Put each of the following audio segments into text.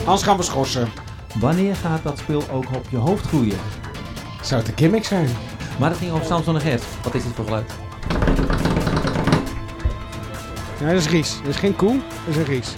Anders gaan we schorsen. Wanneer gaat dat spul ook op je hoofd groeien? Zou het een gimmick zijn? Maar dat ging over Samson en Gert. Wat is dit voor geluid? Ja, dat is Ries. Dat is geen koe, dat is een Ries.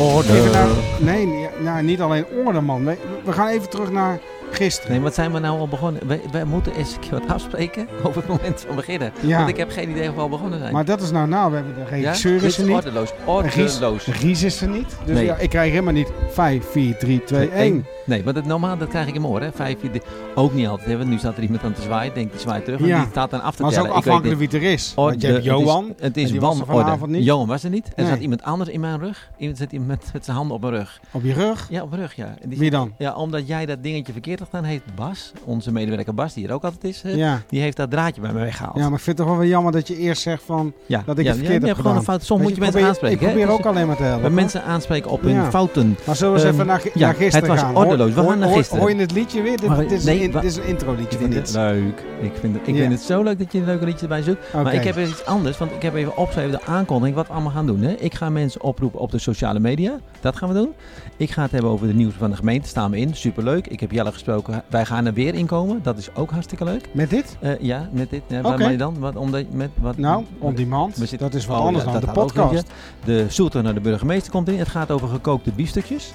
Even naar, Orde. nee, ja, ja, niet alleen orde, man. We, we gaan even terug naar gisteren. Nee, wat zijn we nou al begonnen? Wij, wij moeten eens een keer wat afspreken over het moment van beginnen. Ja. Want ik heb geen idee of we al begonnen zijn. Maar dat is nou nou, we hebben de ja? regisseur Dit is er niet. Ordeloos. En Ries, Ordeloos. Ries is er niet. Dus Nee. ja, ik krijg helemaal niet 5, 4, 3, 2, 1. Nee, want het, normaal dat krijg ik in mijn oor. Hè. Vijf, vier, drie. ook niet altijd. Hè. Want nu staat er iemand aan te zwaaien. Denk die zwaait terug. Ja. En die staat dan af te Maar het is tellen. ook Ik weet afhankelijk dit. wie het er is. Want je hebt Orde. Johan. Het is, het en is die was er vanavond wanorde. niet. Johan was er niet. Er Nee. zat iemand anders in mijn rug. Iemand zat iemand met, met zijn handen op mijn rug. Op je rug. Ja, op mijn rug, ja. En die- Wie dan? ja, omdat jij dat dingetje verkeerd gedaan heeft, Bas, onze medewerker Bas, die er ook altijd is, eh, Ja. die heeft dat draadje bij mij weggehaald. ja, maar ik vind het toch wel weer jammer dat je eerst zegt van... Ja, dat ik het verkeerd je heb hebt gewoon gedaan. een fout. Soms Weet moet je mensen probeer- aanspreken. Ik probeer hè? ook Dus alleen maar te helpen. bij mensen aanspreken op hun Ja. fouten. Maar zullen we eens Ehm, even naar, gi- ja, naar gisteren het was gaan? Hoor- ordeloos. We hoor- gaan naar hoor- gisteren. Hoor je het liedje weer? Dit, Maar- dit is, nee, een, in- wa- dit is een intro liedje Ik van vind iets. het leuk. Ik vind het, ik Ja. vind het zo leuk dat je een leuke liedje erbij zoekt. Oké. Maar ik heb weer iets anders, want ik heb even opgeschreven de aankondiging wat we allemaal gaan doen. Hè. Ik ga mensen oproepen op de sociale media. Dat gaan we doen. Ik ga het hebben over de nieuws van de gemeente. Staan we in. Superleuk. Ik heb Jelle gesproken. Wij gaan er weer inkomen. Dat is ook hartstikke leuk. Met dit? Eh, ja, met dit. Ja, Oké. Waarmee dan? Wat, omdat, met, wat, Nou, on met- demand. we zitten- dat is wat Oh, anders ja, dan de dat hadden we ook podcast. nog niet, hè. De zoeter naar de burgemeester komt in. Het gaat over gekookte biefstukjes.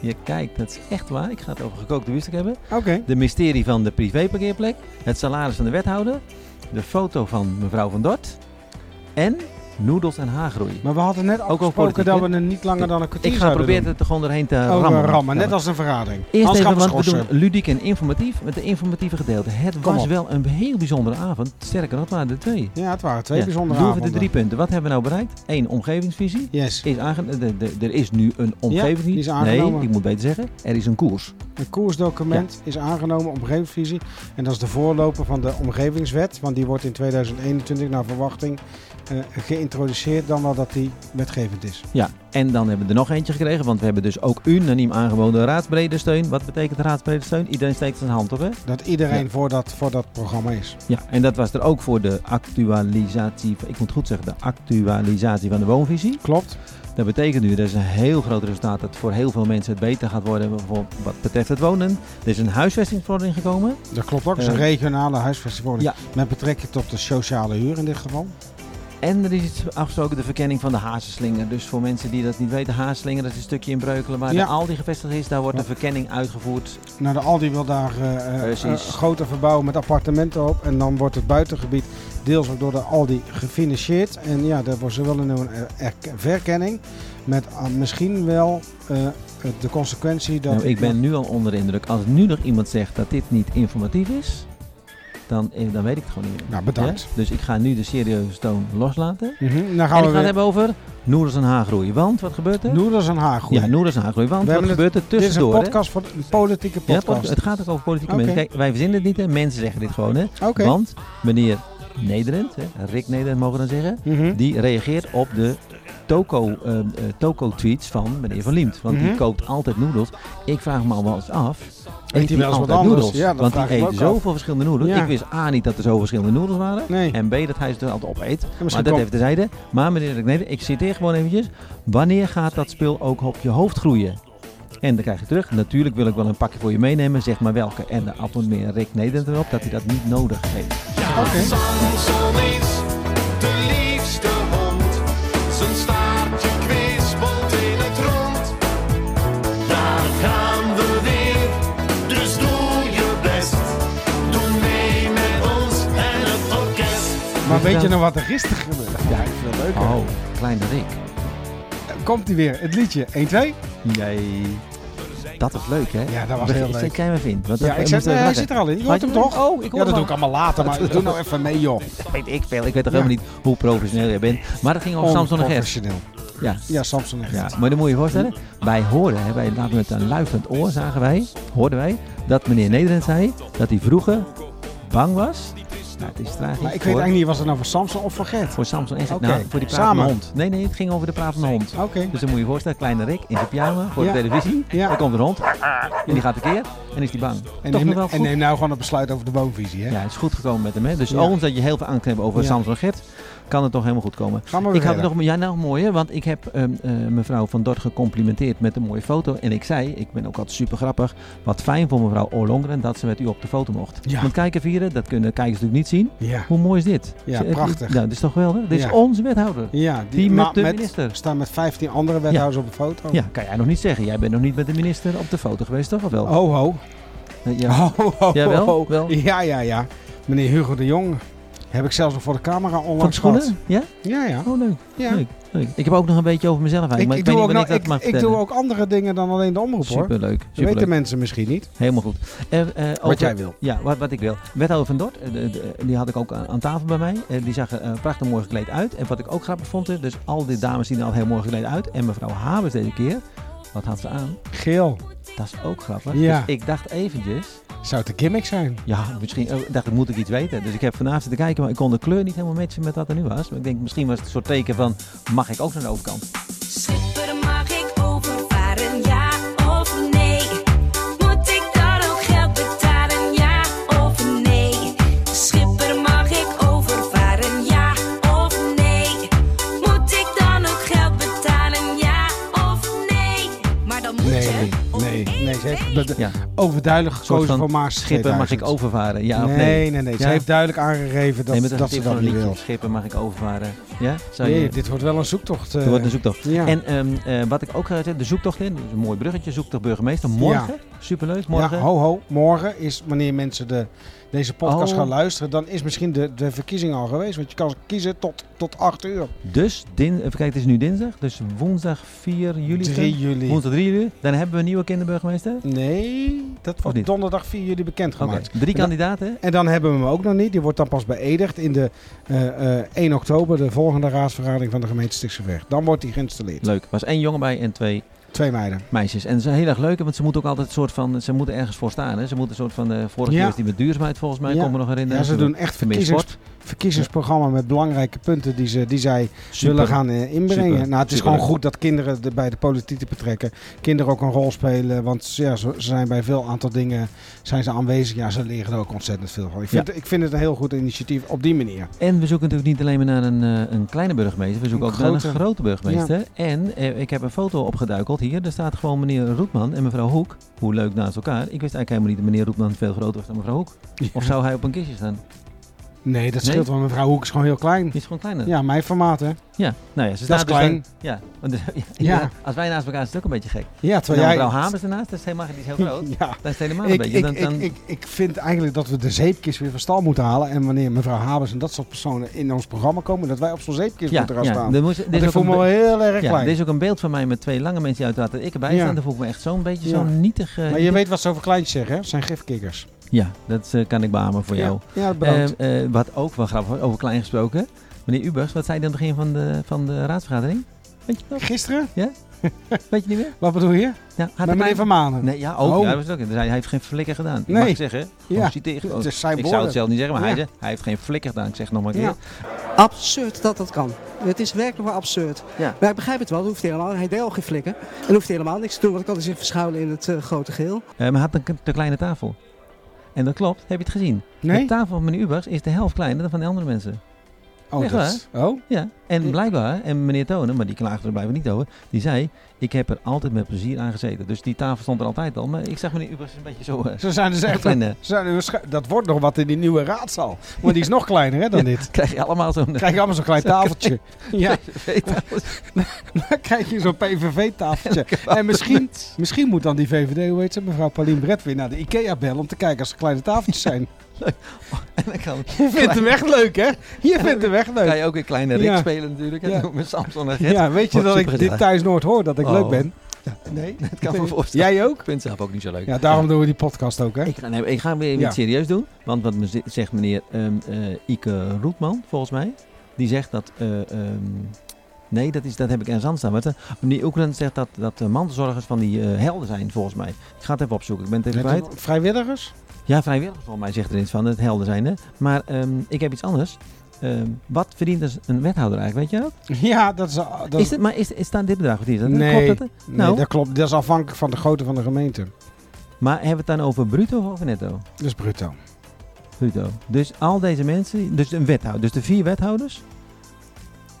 Je kijkt, dat is echt waar. Ik ga het over gekookte biefstuk hebben. Oké. De mysterie van de privéparkeerplek. Het salaris van de wethouder. De foto van mevrouw van Dort. En noedels en haargroei. Maar we hadden net afgesproken politiek, dat hè? we er niet langer dan een kwartier Ik ga zouden proberen het er gewoon doorheen te eh, doen. Oh, rammen. rammen. rammen. Net als een vergadering. Eerst Anders even, gaan we want we schorsen. doen ludiek en informatief. Met de informatieve gedeelte. Het Kom was op. wel een heel bijzondere avond. Sterker, dat waren er twee. Ja, het waren twee Ja, bijzondere Doen we avonden. de drie punten. Wat hebben we nou bereikt? Eén, omgevingsvisie. Yes. Is aange- de- de- er is nu een die is omgevingsvisie. aangenomen. nee, ik moet beter zeggen. Er is een koers. Een koersdocument is aangenomen, omgevingsvisie. En dat is de voorloper van de omgevingswet. Want die wordt in 2021 naar verwachting eh, geïntroduceerd dan wel dat die wetgevend is. Ja, en dan hebben we er nog eentje gekregen. Want we hebben dus ook unaniem aangeboden raadsbrede steun. Wat betekent raadsbrede steun? Iedereen steekt zijn hand op, hè? Dat iedereen Ja. voor, dat, voor dat programma is. Ja, en dat was er ook voor de actualisatie. Ik moet goed zeggen, de actualisatie van de woonvisie. Klopt. Dat betekent nu, dat is een heel groot resultaat, dat voor heel veel mensen het beter gaat worden bijvoorbeeld wat betreft het wonen. Er is een huisvestingsverordening gekomen. Dat klopt ook. Het is een Eh, regionale huisvestingwoning. ja. Met betrekking tot de sociale huur in dit geval. En er is iets afgesproken, de verkenning van de hazenslinger. Dus voor mensen die dat niet weten, hazenslinger, dat is een stukje in Breukelen waar Ja. de Aldi gevestigd is. Daar wordt Ja. de verkenning uitgevoerd. Nou, de Aldi wil daar eh, eh, Precies. eh, grote verbouwen met appartementen op. En dan wordt het buitengebied deels ook door de Aldi gefinancierd. En ja, daar wordt zowel een eh, erk- verkenning met ah, misschien wel eh, de consequentie dat... Nou, ik ben nu al onder de indruk. Als nu nog iemand zegt dat dit niet informatief is, dan, eh, dan weet ik het gewoon niet meer. Nou, bedankt. Ja? Dus ik ga nu de serieuze toon loslaten. Mhm, Dan gaan we En ik ga het weer... hebben over noedels en haargroei. Want wat gebeurt er? Noeders en haargroei. Ja, noedels en haargroei. Want We wat hebben het- gebeurt er Dit is een tussendoor? hè? podcast, voor, een politieke Ja, podcast. het gaat ook over politieke Oké. mensen. Kijk, wij verzinnen het niet, hè. mensen zeggen dit gewoon. Hè. Oké. Want meneer Nederend, hè, Rick Nederend mogen we dan zeggen, Mhm. die reageert op de ehm, toko-tweets van meneer Van Liemt. Want Mhm. die koopt altijd noedels. Ik vraag me al wel eens af, hij eet hij wel eens wat altijd anders? noedels? Ja, dat want vraag die ik me eet ook af. zoveel verschillende noedels. Ja. Ik wist A niet dat er zoveel verschillende noedels waren. Nee. En B dat hij ze er altijd op eet. Maar misschien dat komt- even terzijde. Maar meneer Rick Nederend, ik citeer gewoon eventjes. Wanneer gaat dat spul ook op je hoofd groeien? En dan krijg je terug. Natuurlijk wil ik wel een pakje voor je meenemen. Zeg maar welke. En dan abonneer Rick Nederland erop dat hij dat niet nodig heeft. Oké. Samson is de liefste hond. Zijn staartje kwispelt in het rond. Daar gaan we weer, dus doe je best. Doe mee met ons en het orkest. Maar weet je Ja. nou wat er gisteren gebeurde? Ja, veel leuker. Oh, kleine Rick. Komt ie weer, het liedje. 1, 2. Jij. Dat was leuk, hè? Ja, dat was Begin- heel leuk. Zet jij me even in. Want Ja, dat- ik we zet, moeten nee, hij lachen. zit er al in. Je Maar hoort hem je- toch? eh, Oh, ik hoor ja, dat hem doe ik allemaal later, maar doe nou even mee, joh. Weet ik veel. Ik weet toch helemaal niet hoe professioneel jij bent. Maar dat ging over Samson en Gert. Onprofessioneel. Ja. Ja, Samson en Gert. Ja, maar dan moet je je voorstellen, wij hoorden, hè, wij laten met een luisterend oor zagen wij, hoorden wij, dat meneer Nederland zei dat hij vroeger bang was Nou, het is tragisch. Maar ik voor- weet eigenlijk niet, was het nou voor Samson of voor Gert? Voor Samson en Gert. Oké. Nou, voor die pratende Samen. hond. Nee, nee, het ging over de pratende hond. Oké. Dus dan moet je je voorstellen, kleine Rick in zijn pyjama voor Ja. de televisie. Ja. Daar komt een hond. En die gaat tekeer. En is die bang. En Toch nog neem, wel en goed. neem nou gewoon een besluit over de woonvisie, hè? Ja, het is goed gekomen met hem. Hè? Dus Ja. ondanks dat je heel veel angst hebt over Ja. Samson en Gert, kan het toch helemaal goed komen. Gaan we weer Ik had verder. het nog, ja, nou mooi, hè, want ik heb ehm, eh, mevrouw Van Dort gecomplimenteerd met een mooie foto. En ik zei, ik ben ook altijd super grappig, wat fijn voor mevrouw Oorlongren dat ze met u op de foto mocht. Ja. Want kijken vieren, dat kunnen kijkers natuurlijk niet zien. Ja. Hoe mooi is dit? Ja, Ze- het- prachtig. Nou, dit is toch geweldig? Dit is Ja. onze wethouder. Ja, die, Die maar met de minister. staan met 15 andere wethouders op een foto. Ja, kan jij nog niet zeggen. Jij bent nog niet met de minister op de foto geweest, toch? Of wel? Ho, ho. Eh, ja. Ho, ho, ho. Jawel, wel. Ja, ja, ja. Meneer Hugo de Jong heb ik zelfs nog voor de camera Van de onlangs schoenen? Ja? gehad. Ja, ja. Oh, leuk. ja. Leuk, leuk. Ik heb ook nog een beetje over mezelf eigenlijk, maar ik, weet doe niet ook wanneer nog- ik dat ik- mag ik vertellen. doe ook andere dingen dan alleen de omroep, hoor. Dat Superleuk, weten superleuk. mensen misschien niet. Helemaal goed. Eh, eh, over- jij wil. Ja, wat, wat ik wil. Wethouder van Dort, eh, de- de- die had ik ook aan, aan tafel bij mij. Eh, die zag er eh, prachtig mooi gekleed uit. En wat ik ook grappig vond, eh, dus al die dames zien er al heel mooi gekleed uit. En mevrouw Habers deze keer, wat had ze aan? Geel. Dat is ook grappig. Ja. Dus ik dacht eventjes, Zou het een gimmick zijn? ja, misschien eh, dacht ik, moet ik iets weten. Dus ik heb vanavond zitten kijken, maar ik kon de kleur niet helemaal matchen met wat er nu was. Maar ik denk, misschien was het een soort teken van, mag ik ook naar de overkant? Schipper mag ik overvaren, ja of nee? Moet ik daar ook geld betalen, ja of nee? Schipper mag ik overvaren, ja of nee? Moet ik dan ook geld betalen, ja of nee? Maar dan moet Nee, je. nee, nee. Ze heeft be- Ja. overduidelijk Een soort gekozen van, voor Maas Schipper mag ik 2000. overvaren, ja of nee, nee? nee, nee, Ze Ja. heeft duidelijk aangegeven dat, nee, maar dat is ze een tip dat van niet een wil. liedje. Schipper mag ik overvaren. Ja? Zou je, Nee, dit wordt wel een zoektocht. eh, er wordt een zoektocht. ja. En ehm, eh, wat ik ook ga zeggen, de zoektocht in, dat is een mooi bruggetje, zoektocht burgemeester. Morgen, superleuk, morgen. Ja, ho, ho. Morgen is wanneer mensen de, deze podcast Oh. gaan luisteren, dan is misschien de, de verkiezing al geweest. Want je kan kiezen tot, tot 8 uur. dus, din, even kijken, het is nu dinsdag, dus woensdag 4 juli. 3 juli. Woensdag 3 juli, dan hebben we een nieuwe kinderburgemeester. Oké, Nee, dat niet? wordt donderdag 4 juli bekendgemaakt. drie Ja. kandidaten. En dan hebben we hem ook nog niet. Die wordt dan pas beëdigd in de eh, eh, 1 oktober, de volgende raadsvergadering van de gemeente Stichtseverg. Dan wordt hij geïnstalleerd. Leuk, er was één jongen bij en twee Twee meiden. meisjes. En ze zijn heel erg leuk, want ze moeten ook altijd een soort van, ze moeten ergens voor staan. Hè? Ze moeten een soort van, eh vorige Ja. keer was die met duurzaamheid volgens mij, Ja. kon me nog herinneren. Ja, ze doen echt meer verkiezings, verkiezingsprogramma met belangrijke punten die, ze, die zij zullen Super. gaan eh, inbrengen. Super. Nou, het is gewoon Superleuk. goed dat kinderen de- bij de politiek te betrekken. Kinderen ook een rol spelen, want ze- ja, ze ze zijn bij veel aantal dingen zijn ze aanwezig. Ja, ze leren er ook ontzettend veel van. Ik vind, ik vind het een heel goed initiatief op die manier. En we zoeken natuurlijk niet alleen maar naar een, eh, een kleine burgemeester, we zoeken Een ook naar een grote. grote burgemeester. En eh, ik heb een foto opgeduikeld hier. Daar staat gewoon meneer Roetman en mevrouw Hoek. Hoe leuk naast elkaar. Ik wist eigenlijk helemaal niet dat meneer Roetman veel groter was dan mevrouw Hoek. Of zou hij op een kistje staan? Nee, dat Nee? scheelt wel. Mevrouw Hoek is gewoon heel klein. Die is gewoon kleiner. Ja, mijn formaat hè. Ja. Nou ja, ze Dat is staat dus klein. dan- ja. Want- ja, inderdaad. Als wij naast elkaar is het ook een beetje gek. Ja, En terwijl dan jij... mevrouw Hamers ernaast, dat is helemaal, die is heel groot. Ja. Dat is het helemaal een Ik, beetje. ik, Dan, ik, dan, ik, ik vind eigenlijk dat we de zeepkist weer van stal moeten halen. En wanneer mevrouw Habers en dat soort personen in ons programma komen, dat wij op zo'n zeepkist ja, moeten gaan ja. staan. Er moest- er is Want ik ook voel een me wel heel be- erg ja, klein. er is ook een beeld van mij met twee lange mensen die uiteraard dat ik erbij Ja. sta. Daar voel ik me echt zo'n beetje Ja. zo'n nietig... eh, Maar je weet wat ze over kleintjes zeggen, hè? Het zijn gifkikkers. Ja, dat eh, kan ik beamen voor jou. Ja, ja bedankt. Eh, eh, wat ook wel grappig was, over klein gesproken. Meneer Ubers, wat zei je aan het begin van de, van de raadsvergadering? Weet je nog? Gisteren? Weet je niet meer? Wat bedoel je? Ja, had Met een meneer klein- Van Manen. Ah, Nee, ja, ook. Oh. Ja, dat was het ook. Dus hij heeft geen flikker gedaan. Nee. Mag ik zeggen? Ja. Ja. Citeer, gewoon. Het ik is zijn zou woorden. het zelf niet zeggen, Ja. maar hij, zegt, hij heeft geen flikker gedaan. Ik zeg het nog maar een Ja. keer. absurd dat dat kan. Het is werkelijk wel absurd. Ja. Maar ik begrijp het wel, dat hoeft helemaal, hij deed al geen flikken. En hoeft helemaal niks te doen, want dan kan hij zich verschuilen in het eh, grote geheel. Eh, maar hij had een k- te kleine tafel. En dat klopt, heb je het gezien? De Nee? tafel van meneer Ubers is de helft kleiner dan van de andere mensen. Oh, Echt dat... oh? Ja, en Ik- blijkbaar, en meneer Tonen, maar die klaagde er blijkbaar niet over, die zei, ik heb er altijd met plezier aan gezeten. Dus die tafel stond er altijd al, maar ik zag meneer Ubers een beetje zo... eh, Ze zijn dus echt... klein, eh, ze zijn dus scha- dat wordt nog wat in die nieuwe raadzaal. Want die is nog kleiner hè, dan Ja. dit. krijg je allemaal zo'n... Krijg je allemaal zo'n klein tafeltje. Ja, PVV-tafels. dan krijg je zo'n PVV-tafeltje. En misschien, misschien moet dan die VVD, hoe heet ze, mevrouw Paulien Bret weer naar de IKEA bellen om te kijken als er kleine tafeltjes zijn. En dan kan, Je vindt hem echt leuk, hè? Je vindt hem echt kan leuk. je ook een kleine Rick Ja. spelen natuurlijk, Ja. ja. met Samson en Gert. Ja, weet je Wordt dat ik super dit gedaan. thuis nooit hoor, dat ik Oh. leuk ben? Nee, dat kan ik me voorstellen. Jij ook? Ik vind het zelf ook niet zo leuk. Ja, daarom doen we die podcast ook, hè? Ik ga, nee, ik ga weer Ja. iets serieus doen. Want wat me zi- zegt meneer ehm, eh, Ike Roetman, volgens mij. Die zegt dat... eh, ehm, nee, dat, is, dat heb ik ergens anders staan. Wat, eh, meneer Oekland zegt dat, dat de mantelzorgers van die eh, helden zijn, volgens mij. Ik ga het even opzoeken. Ik ben het even Met kwijt. de Vrijwilligers? Ja, vrijwilligers volgens mij zegt er iets van, het helder zijn. Hè? Maar ehm, ik heb iets anders. Ehm, wat verdient dus een wethouder eigenlijk, weet je dat? Ja, dat is... Dat is dit, maar is, is aan dit bedrag verdiend? Dat- nee, Klopt dat? nee, Nou. dat klopt. Dat is afhankelijk van de grootte van de gemeente. Maar hebben we het dan over bruto of over netto? Dat is bruto. Bruto. Dus al deze mensen, dus een wethouder, dus de vier wethouders,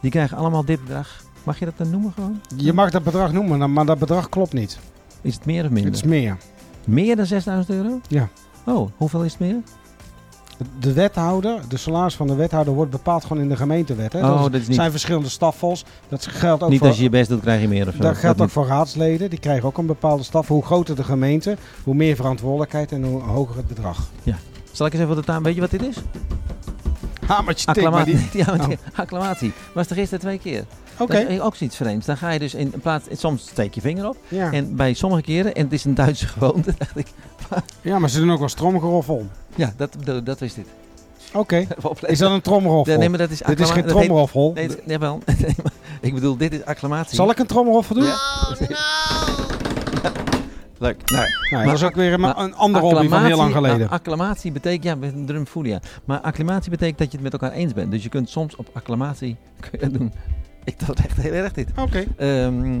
die krijgen allemaal dit bedrag. Mag je dat dan noemen gewoon? Je mag dat bedrag noemen, maar dat bedrag klopt niet. Is het meer of minder? Het is meer. Meer dan 6000 euro? Ja. Oh, hoeveel is het meer? De wethouder, de salaris van de wethouder wordt bepaald gewoon in de gemeentewet. Hè? Dat oh, is- dat is niet. zijn verschillende staffels. Dat geldt ook Niet Oh, voor... als je je best doet, krijg je meer of zo. Dat geldt ook niet. voor raadsleden. Die krijgen ook een bepaalde staf. Hoe groter de gemeente, hoe meer verantwoordelijkheid en hoe hoger het bedrag. Zal ik eens even wat het aan. Weet je wat dit is? Hamertje tik, Ah, maar Acclamatie. die... Oh. Ja, want die- acclamatie. Was er gisteren twee keer. Oké, Dat is ook zoiets vreemds. Dan ga je dus in plaats. Soms steek je vinger op. ja. En bij sommige keren, en het is een Duitse gewoonte, dacht ik. ja, maar ze doen ook wel stromgeroffel. Ja, dat, dat, dat is dit. Oké, Even opletten. is dat een tromgeroffel? Nee, maar dat is Dit is acclama- geen dat heet- tromgeroffel. Nee, het- jawel. Nee, maar ik bedoel, dit is acclamatie. Zal ik een tromgeroffel doen? Ja. Leuk. Nou, Nou, Maar- dat was ook weer een, maar een andere hobby van heel lang geleden. nou, acclamatie betekent, ja, met een drumfolia. Maar acclamatie betekent dat je het met elkaar eens bent. Dus je kunt soms op acclamatie kun je dat doen. Ik dacht echt heel erg dit. Oké. Ehm,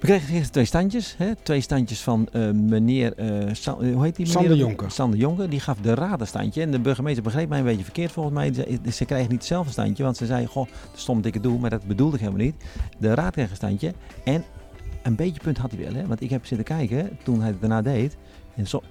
we kregen gisteren twee standjes. Hè? Twee standjes van eh, meneer... eh, Sa- eh, hoe heet die meneer? Sander Jonker. Sander Jonker. Die gaf de raad een standje. En de burgemeester begreep mij een beetje verkeerd volgens mij. Ze, eh, ze kreeg niet zelf een standje. Want ze zei, goh, stom dikke doel. Maar dat bedoelde ik helemaal niet. De raad kreeg een standje. En een beetje punt had hij wel. Hè? Want ik heb zitten kijken toen hij het daarna deed. En zo,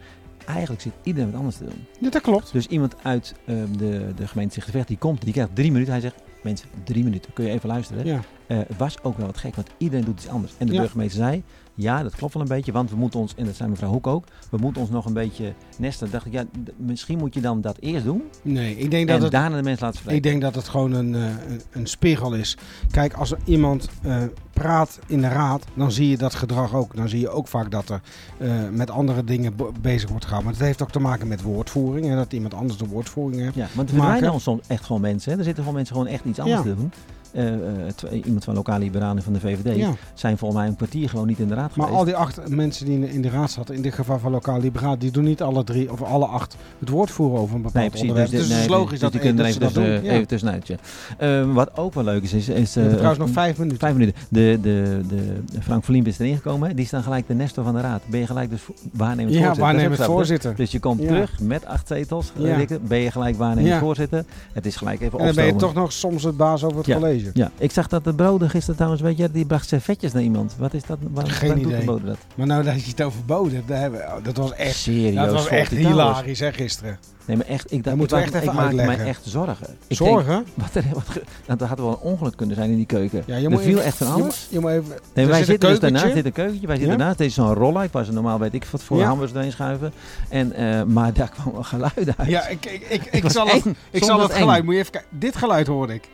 eigenlijk zit iedereen wat anders te doen. Ja, dat klopt. Dus iemand uit ehm, de, de gemeente Zichtenvecht, die komt, die krijgt drie minuten. Hij zegt, mensen, drie minuten. Kun je even luisteren? Ja. Eh, het was ook wel wat gek, want iedereen doet iets anders. En de Ja. burgemeester zei, ja, dat klopt wel een beetje, want we moeten ons, en dat zei mevrouw Hoek ook, we moeten ons nog een beetje nesten. dacht ik, ja, d- misschien moet je dan dat eerst doen Nee, ik denk en dat het daarna de mensen laten spreken. Ik denk dat het gewoon een, eh, een, een spiegel is. Kijk, als er iemand eh, praat in de raad, dan zie je dat gedrag ook. Dan zie je ook vaak dat er eh, met andere dingen be- bezig wordt gehouden. Maar het heeft ook te maken met woordvoering. En dat iemand anders de woordvoering heeft. Ja, want er maken. verdwijnen ons soms echt gewoon mensen. Hè. Er zitten gewoon mensen gewoon echt iets anders Ja. te doen. Eh, eh, twee- iemand van lokaal liberalen van de VVD Ja, zijn volgens mij een kwartier gewoon niet in de raad maar geweest. al die acht mensen die in de, in de raad zaten, in dit geval van Lokaal Liberaal, die doen niet alle drie of alle acht het woord voeren over een bepaald Nee, precies. onderwerp. dit- Dus, het is nee, logisch dus dat, die dat, kunnen er dat even, ze dat tussen- doen. Ja. even eh, tussenuit. ja. Ehm, wat ook wel leuk is, is... is We eh, hebben trouwens nog vijf minuten. Vijf minuten. De, de, de Frank Verliemp is erin gekomen. hè. Die is dan gelijk de Nestor van de Raad. Ben je gelijk dus vo- waarnemend ja, voorzitter. Dat is ook waarnemend grappig, hè? voorzitter. Dus je komt Ja. terug met acht zetels. eh, Ja. Rikke. ben je gelijk waarnemend Ja. voorzitter. Het is gelijk even En dan ben je opstomen. toch nog soms het baas over het Ja. college. Ja, ik zag dat de broder gisteren trouwens, weet je, die bracht servetjes naar iemand. Wat is dat? Waar, Geen waar doet idee. de broder dat? Maar nou dat je het over bood hebt, daar hebben we- oh, dat was echt, Serieus. dat was volgt echt die trouwens. hilarisch hè, gisteren. Nee, maar echt, ik, dacht, ik, moeten we maak- echt ik even maakte mij uitleggen. echt zorgen. Ik denk, Zorgen? Wat er, wat, ge- nou, dat had wel een ongeluk kunnen zijn in die keuken. Ja, er viel echt van je alles. moet- Je moet, even, Nee, er wij zit een zitten dus keukentje. daarnaast, dit een keukentje, wij zitten Ja? daarnaast, dit is zo'n roller, ik was er normaal, weet ik wat, voor Ja. hamers erin schuiven. En, eh, maar daar kwam wel geluid uit. Ja, ik, ik, ik, Het ik was zal, eng. het, Soms ik zal was het eng. geluid, moet je even kijken. Dit geluid hoorde ik.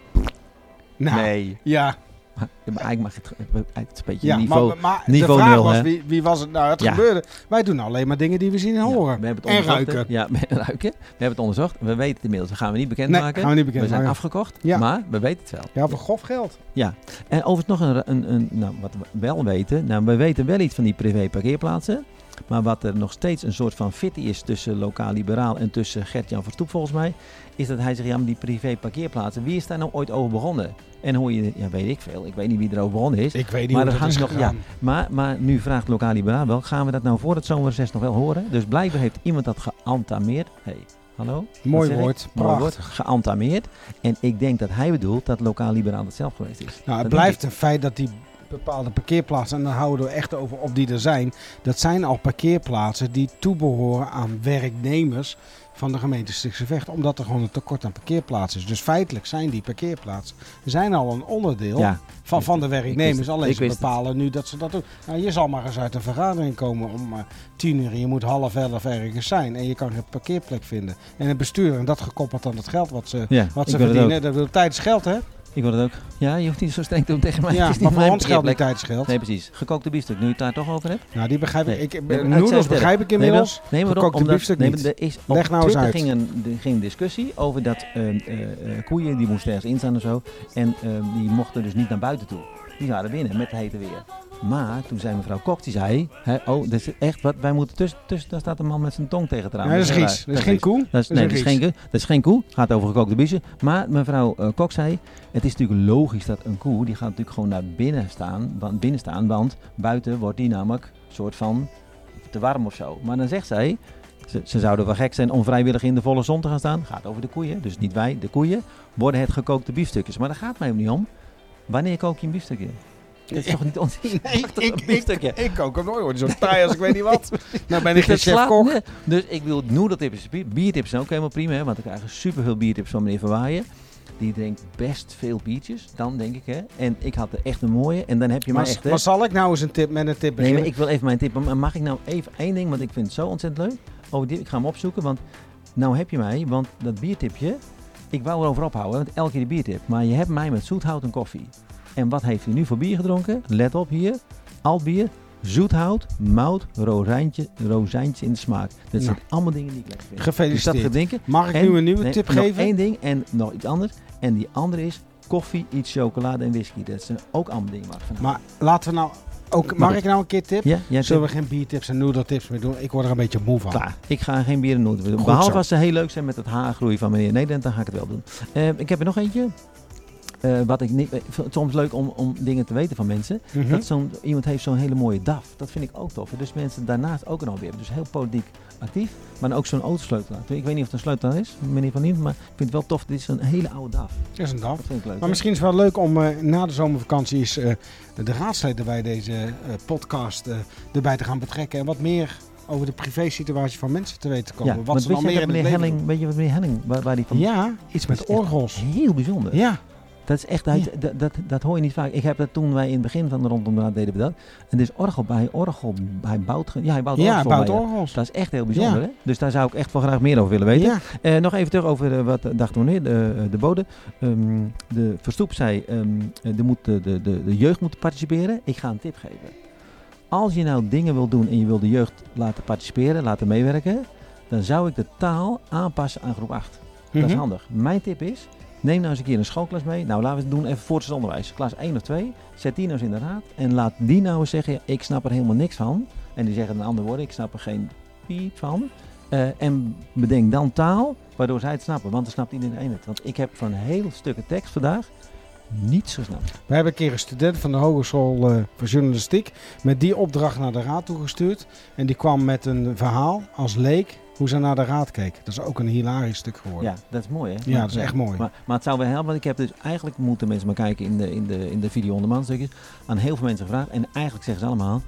Nou, Nee, ja, maar, maar eigenlijk mag het, het is een beetje ja niveau. maar, maar de niveau vraag nul, was hè? wie, wie was het nou, het Ja. gebeurde. Wij doen alleen maar dingen die we zien en Ja, horen. we hebben het en onderzocht, hè. ruiken. Ja, we- ruiken. We hebben het onderzocht. We weten het inmiddels. Dat gaan we niet Nee, bekendmaken. gaan we niet we bekend zijn maken. afgekocht, Ja. maar we weten het wel. Ja, voor grof geld. En overigens nog een, ra- een, een nou, wat we wel weten. Nou, we weten wel iets van die privé parkeerplaatsen. Maar wat er nog steeds een soort van fitty is tussen Lokaal Liberaal en tussen Gert-Jan Verstoep volgens mij. Is dat hij zegt, ja maar die privé parkeerplaatsen, wie is daar nou ooit over begonnen? En hoor je, ja weet ik veel, ik weet niet wie er over begonnen is. Ik weet niet Maar hoe er dat is hangt nog- gegaan. Maar, maar nu vraagt Lokaal Liberaal wel, gaan we dat nou voor het zomerreces nog wel horen? Dus blijkbaar heeft iemand dat geantameerd. hey, hallo? Wat Mooi zeg ik? woord, Mooi woord, prachtig. geantameerd. En ik denk dat hij bedoelt dat Lokaal Liberaal het zelf geweest is. Nou, het Dat denk ik. blijft een feit dat die bepaalde parkeerplaatsen, en dan houden we echt over op die er zijn, dat zijn al parkeerplaatsen die toebehoren aan werknemers van de gemeente Stichtse Vecht, omdat er gewoon een tekort aan parkeerplaatsen is. Dus feitelijk zijn die parkeerplaatsen zijn al een onderdeel Ja, van, van de Ik wist werknemers. het. Alleen Ik ze wist het. bepalen nu dat ze dat doen. Nou, je zal maar eens uit een vergadering komen om eh, tien uur. en Je moet half elf ergens zijn en je kan geen parkeerplek vinden. En het bestuur, en dat gekoppeld aan het geld wat ze, Ja, wat ik ze wil het verdienen. Dat wil tijd is geld, hè? ook. Ik wil het ook. Ja, je hoeft niet zo streng te doen tegen mij. ja, het is niet maar voor mijn ons geldt niet parkeerplek. tijd is geld. Nee, precies. Gekookte biefstuk, nu je het daar toch over hebt. Nou, die begrijp ik. Nee. ik Nee, maar noedels uitzijds begrijp ik Nee, inmiddels. wel- nee, maar ook Gekookte omdat, biefstuk nee, niet. maar er is op Leg nou eens Twitter uit. Ging een, er ging een discussie over dat ehm, eh, eh, koeien, die moesten ergens instaan of zo. En ehm, die mochten dus niet naar buiten toe. die waren binnen met het hete weer. Maar toen zei mevrouw Kok, die zei, hè, oh, dit is echt wat, wij moeten tussen, tussen, daar staat een man met zijn tong tegen het raam. Nee, dat is heel Gies. raar. Dat is geen koe. Dat is, nee, dat is, geen, koe. dat is geen koe. Gaat over gekookte biezen. Maar mevrouw eh, Kok zei, het is natuurlijk logisch dat een koe, die gaat natuurlijk gewoon naar binnen staan, want, binnen staan, want buiten wordt die namelijk soort van te warm of zo. Maar dan zegt zij, ze, ze zouden wel gek zijn om vrijwillig in de volle zon te gaan staan. Gaat over de koeien, dus niet wij, de koeien. Worden het gekookte biefstukjes. Maar daar gaat mij ook niet om. Wanneer kook je een biefstukje? Dat is toch niet ons ik, ik, biefstukje? ik kook hem nooit hoor. Zo'n taai als ik weet niet wat. Nou ben ik geen Dat slaat chef-kok. nergens- Dus ik wil noedeltips, bier- biertips zijn ook helemaal prima, hè, want ik krijg super veel biertips van meneer Verwaaien. Die drinkt best veel biertjes, dan denk ik hè. En ik had er echt een mooie en dan heb je maar, Maar, echt hè. maar zal ik nou eens een tip met een tip Nee, beginnen? maar ik wil even mijn tip. Maar Mag ik nou even één ding, want ik vind het zo ontzettend leuk. Oh, die, ik ga hem opzoeken, want nou heb je mij, want dat biertipje, ik wou erover ophouden, want elke keer de biertip. Maar je hebt mij met zoethout en koffie. En wat heeft u nu voor bier gedronken? Let op hier, alt bier, zoethout, mout, rozijntje, rozijntje in de smaak. Dat zijn allemaal dingen die ik lekker vind. Dus dat Gefeliciteerd. gedrinken. Mag ik En- nu een nieuwe nee, tip nog geven? één ding en nog iets anders. En die andere is koffie, iets chocolade en whisky. Dat zijn ook allemaal dingen waar ik van hou. Maar laten we nou ook. Mag Mag ik nou een keer tip? ja, jij Zullen we geen biertips en noedeltips meer doen? Ik word er een beetje moe van. Klaar. Ik ga geen bieren nooit doen. Goed Behalve zo. als ze heel leuk zijn met het haargroei van meneer Nederland, dan ga ik het wel doen. Eh, ik heb er nog eentje. Eh, wat ik niet, ik vind het soms leuk om, om dingen te weten van mensen. Mhm. Dat zo'n, iemand heeft zo'n hele mooie DAF. Dat vind ik ook tof. Dus mensen daarnaast ook een alweer. hebben. Dus heel politiek actief. Maar dan ook zo'n autosleutelaar. Ik weet niet of het een sleutelaar is, meneer Van Nieuwen. Maar ik vind het wel tof. Dit is een hele oude DAF. Dat is een dag. Dat vind ik leuk. hè? Maar misschien is het wel leuk om eh, na de zomervakantie eens eh, de raadsleden bij deze eh, podcast eh, erbij te gaan betrekken. En wat meer over de privésituatie van mensen te weten te komen. ja, wat want ze weet, dan je meer dat in het meneer leven Helling, weet je wat meneer Helling, waar, waar die doen. van... Ja, iets met Dat is echt orgels. Heel bijzonder. Ja, Dat is echt, uit, dat, dat, dat hoor je niet vaak. Ik heb dat toen wij in het begin van de rondom de Raad deden we dat. En dus orgel bij orgel, hij bouwt, ge- ja hij bouwt ja, orgel bouwt bij je. orgels. Dat is echt heel bijzonder hè. Dus daar zou ik echt wel graag meer over willen weten. Ja. Eh, nog even terug over eh, wat eh, dacht meneer, de, eh, de bode. Ehm, de Verstoep zei, ehm, eh, er moet, de, de, de, de jeugd moet participeren. Ik ga een tip geven. Als je nou dingen wil doen en je wil de jeugd laten participeren, laten meewerken, dan zou ik de taal aanpassen aan groep 8. Dat is Mhm. handig. Mijn tip is, neem nou eens een keer een schoolklas mee. Nou, laten we het doen even voortgezet onderwijs. Klas 1 of 2, zet die nou eens in de raad. En laat die nou eens zeggen, ik snap er helemaal niks van. En die zeggen een ander woord, ik snap er geen piep van. Eh, en bedenk dan taal, waardoor zij het snappen. Want dan snapt iedereen het. Want ik heb van heel stukken tekst vandaag niets gesnapt. We hebben een keer een student van de Hogeschool eh, voor Journalistiek met die opdracht naar de raad toegestuurd. En die kwam met een verhaal als leek hoe ze naar de raad keek. Dat is ook een hilarisch stuk geworden. Ja, dat is mooi hè? Ja, dat is echt mooi. Maar, maar het zou wel helpen, want ik heb dus eigenlijk moeten mensen maar kijken in de, in de, in de video onderman stukjes. Aan heel veel mensen gevraagd. En eigenlijk zeggen ze allemaal,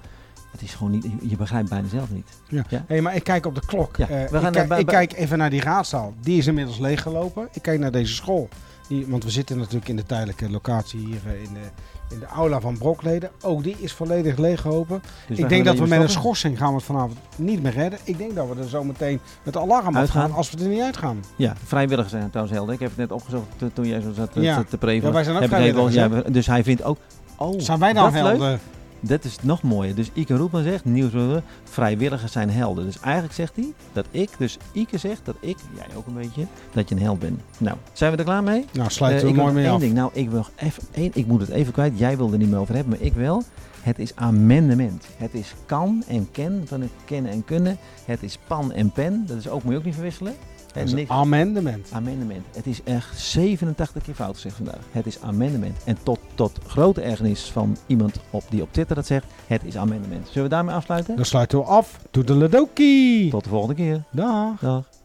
het is gewoon niet, je begrijpt bijna zelf niet. Dus Hé, maar ik kijk op de klok. Ja, Eh, we ik, gaan naar kijk, bij- ik bij- kijk even naar die raadzaal. Die is inmiddels leeggelopen. Ik kijk naar deze school. Die, want we zitten natuurlijk in de tijdelijke locatie hier eh, in de, in de aula van Brokleden. Ook die is volledig leeggelopen. Dus ik wij denk gaan dat we met beetje een schorsing gaan we het vanavond niet meer redden. Ik denk dat we er zo meteen met de alarm af Uitgaan. gaan als we er niet uitgaan. Ja, vrijwilligers zijn trouwens helder. Ik heb het net opgezocht to- toen jij zo zat te- Ja. te- te preven. Ja, wij zijn ook Heb ik even- vrijwilligers, ja, we- Dus hij vindt ook... Oh, Zijn wij nou dan dat is leuk. helder? Dat is nog mooier. Dus Ike Roepman zegt, nieuwsbrugger, vrijwilligers zijn helden. Dus eigenlijk zegt hij dat ik, dus Ike zegt dat ik, jij ook een beetje, dat je een held bent. Nou, zijn we er klaar mee? Nou, sluiten Eh, we ik wil mooi nog mee één af. Ding. Nou, ik wil nog even één. Ik moet het even kwijt. Jij wil er niet meer over hebben, maar ik wel. Het is amendement. Het is kan en ken van het kennen en kunnen. Het is pan en pen. Dat is ook, moet je ook niet verwisselen. Hè, Dat is een niks- amendement. Amendement. Het is echt 87 keer fout gezegd vandaag. Het is amendement. En tot, tot grote ergernis van iemand op, die op Twitter dat zegt, het is amendement. Zullen we daarmee afsluiten? Dan sluiten we af. Toedeledokie. Tot de volgende keer. Dag. Dag.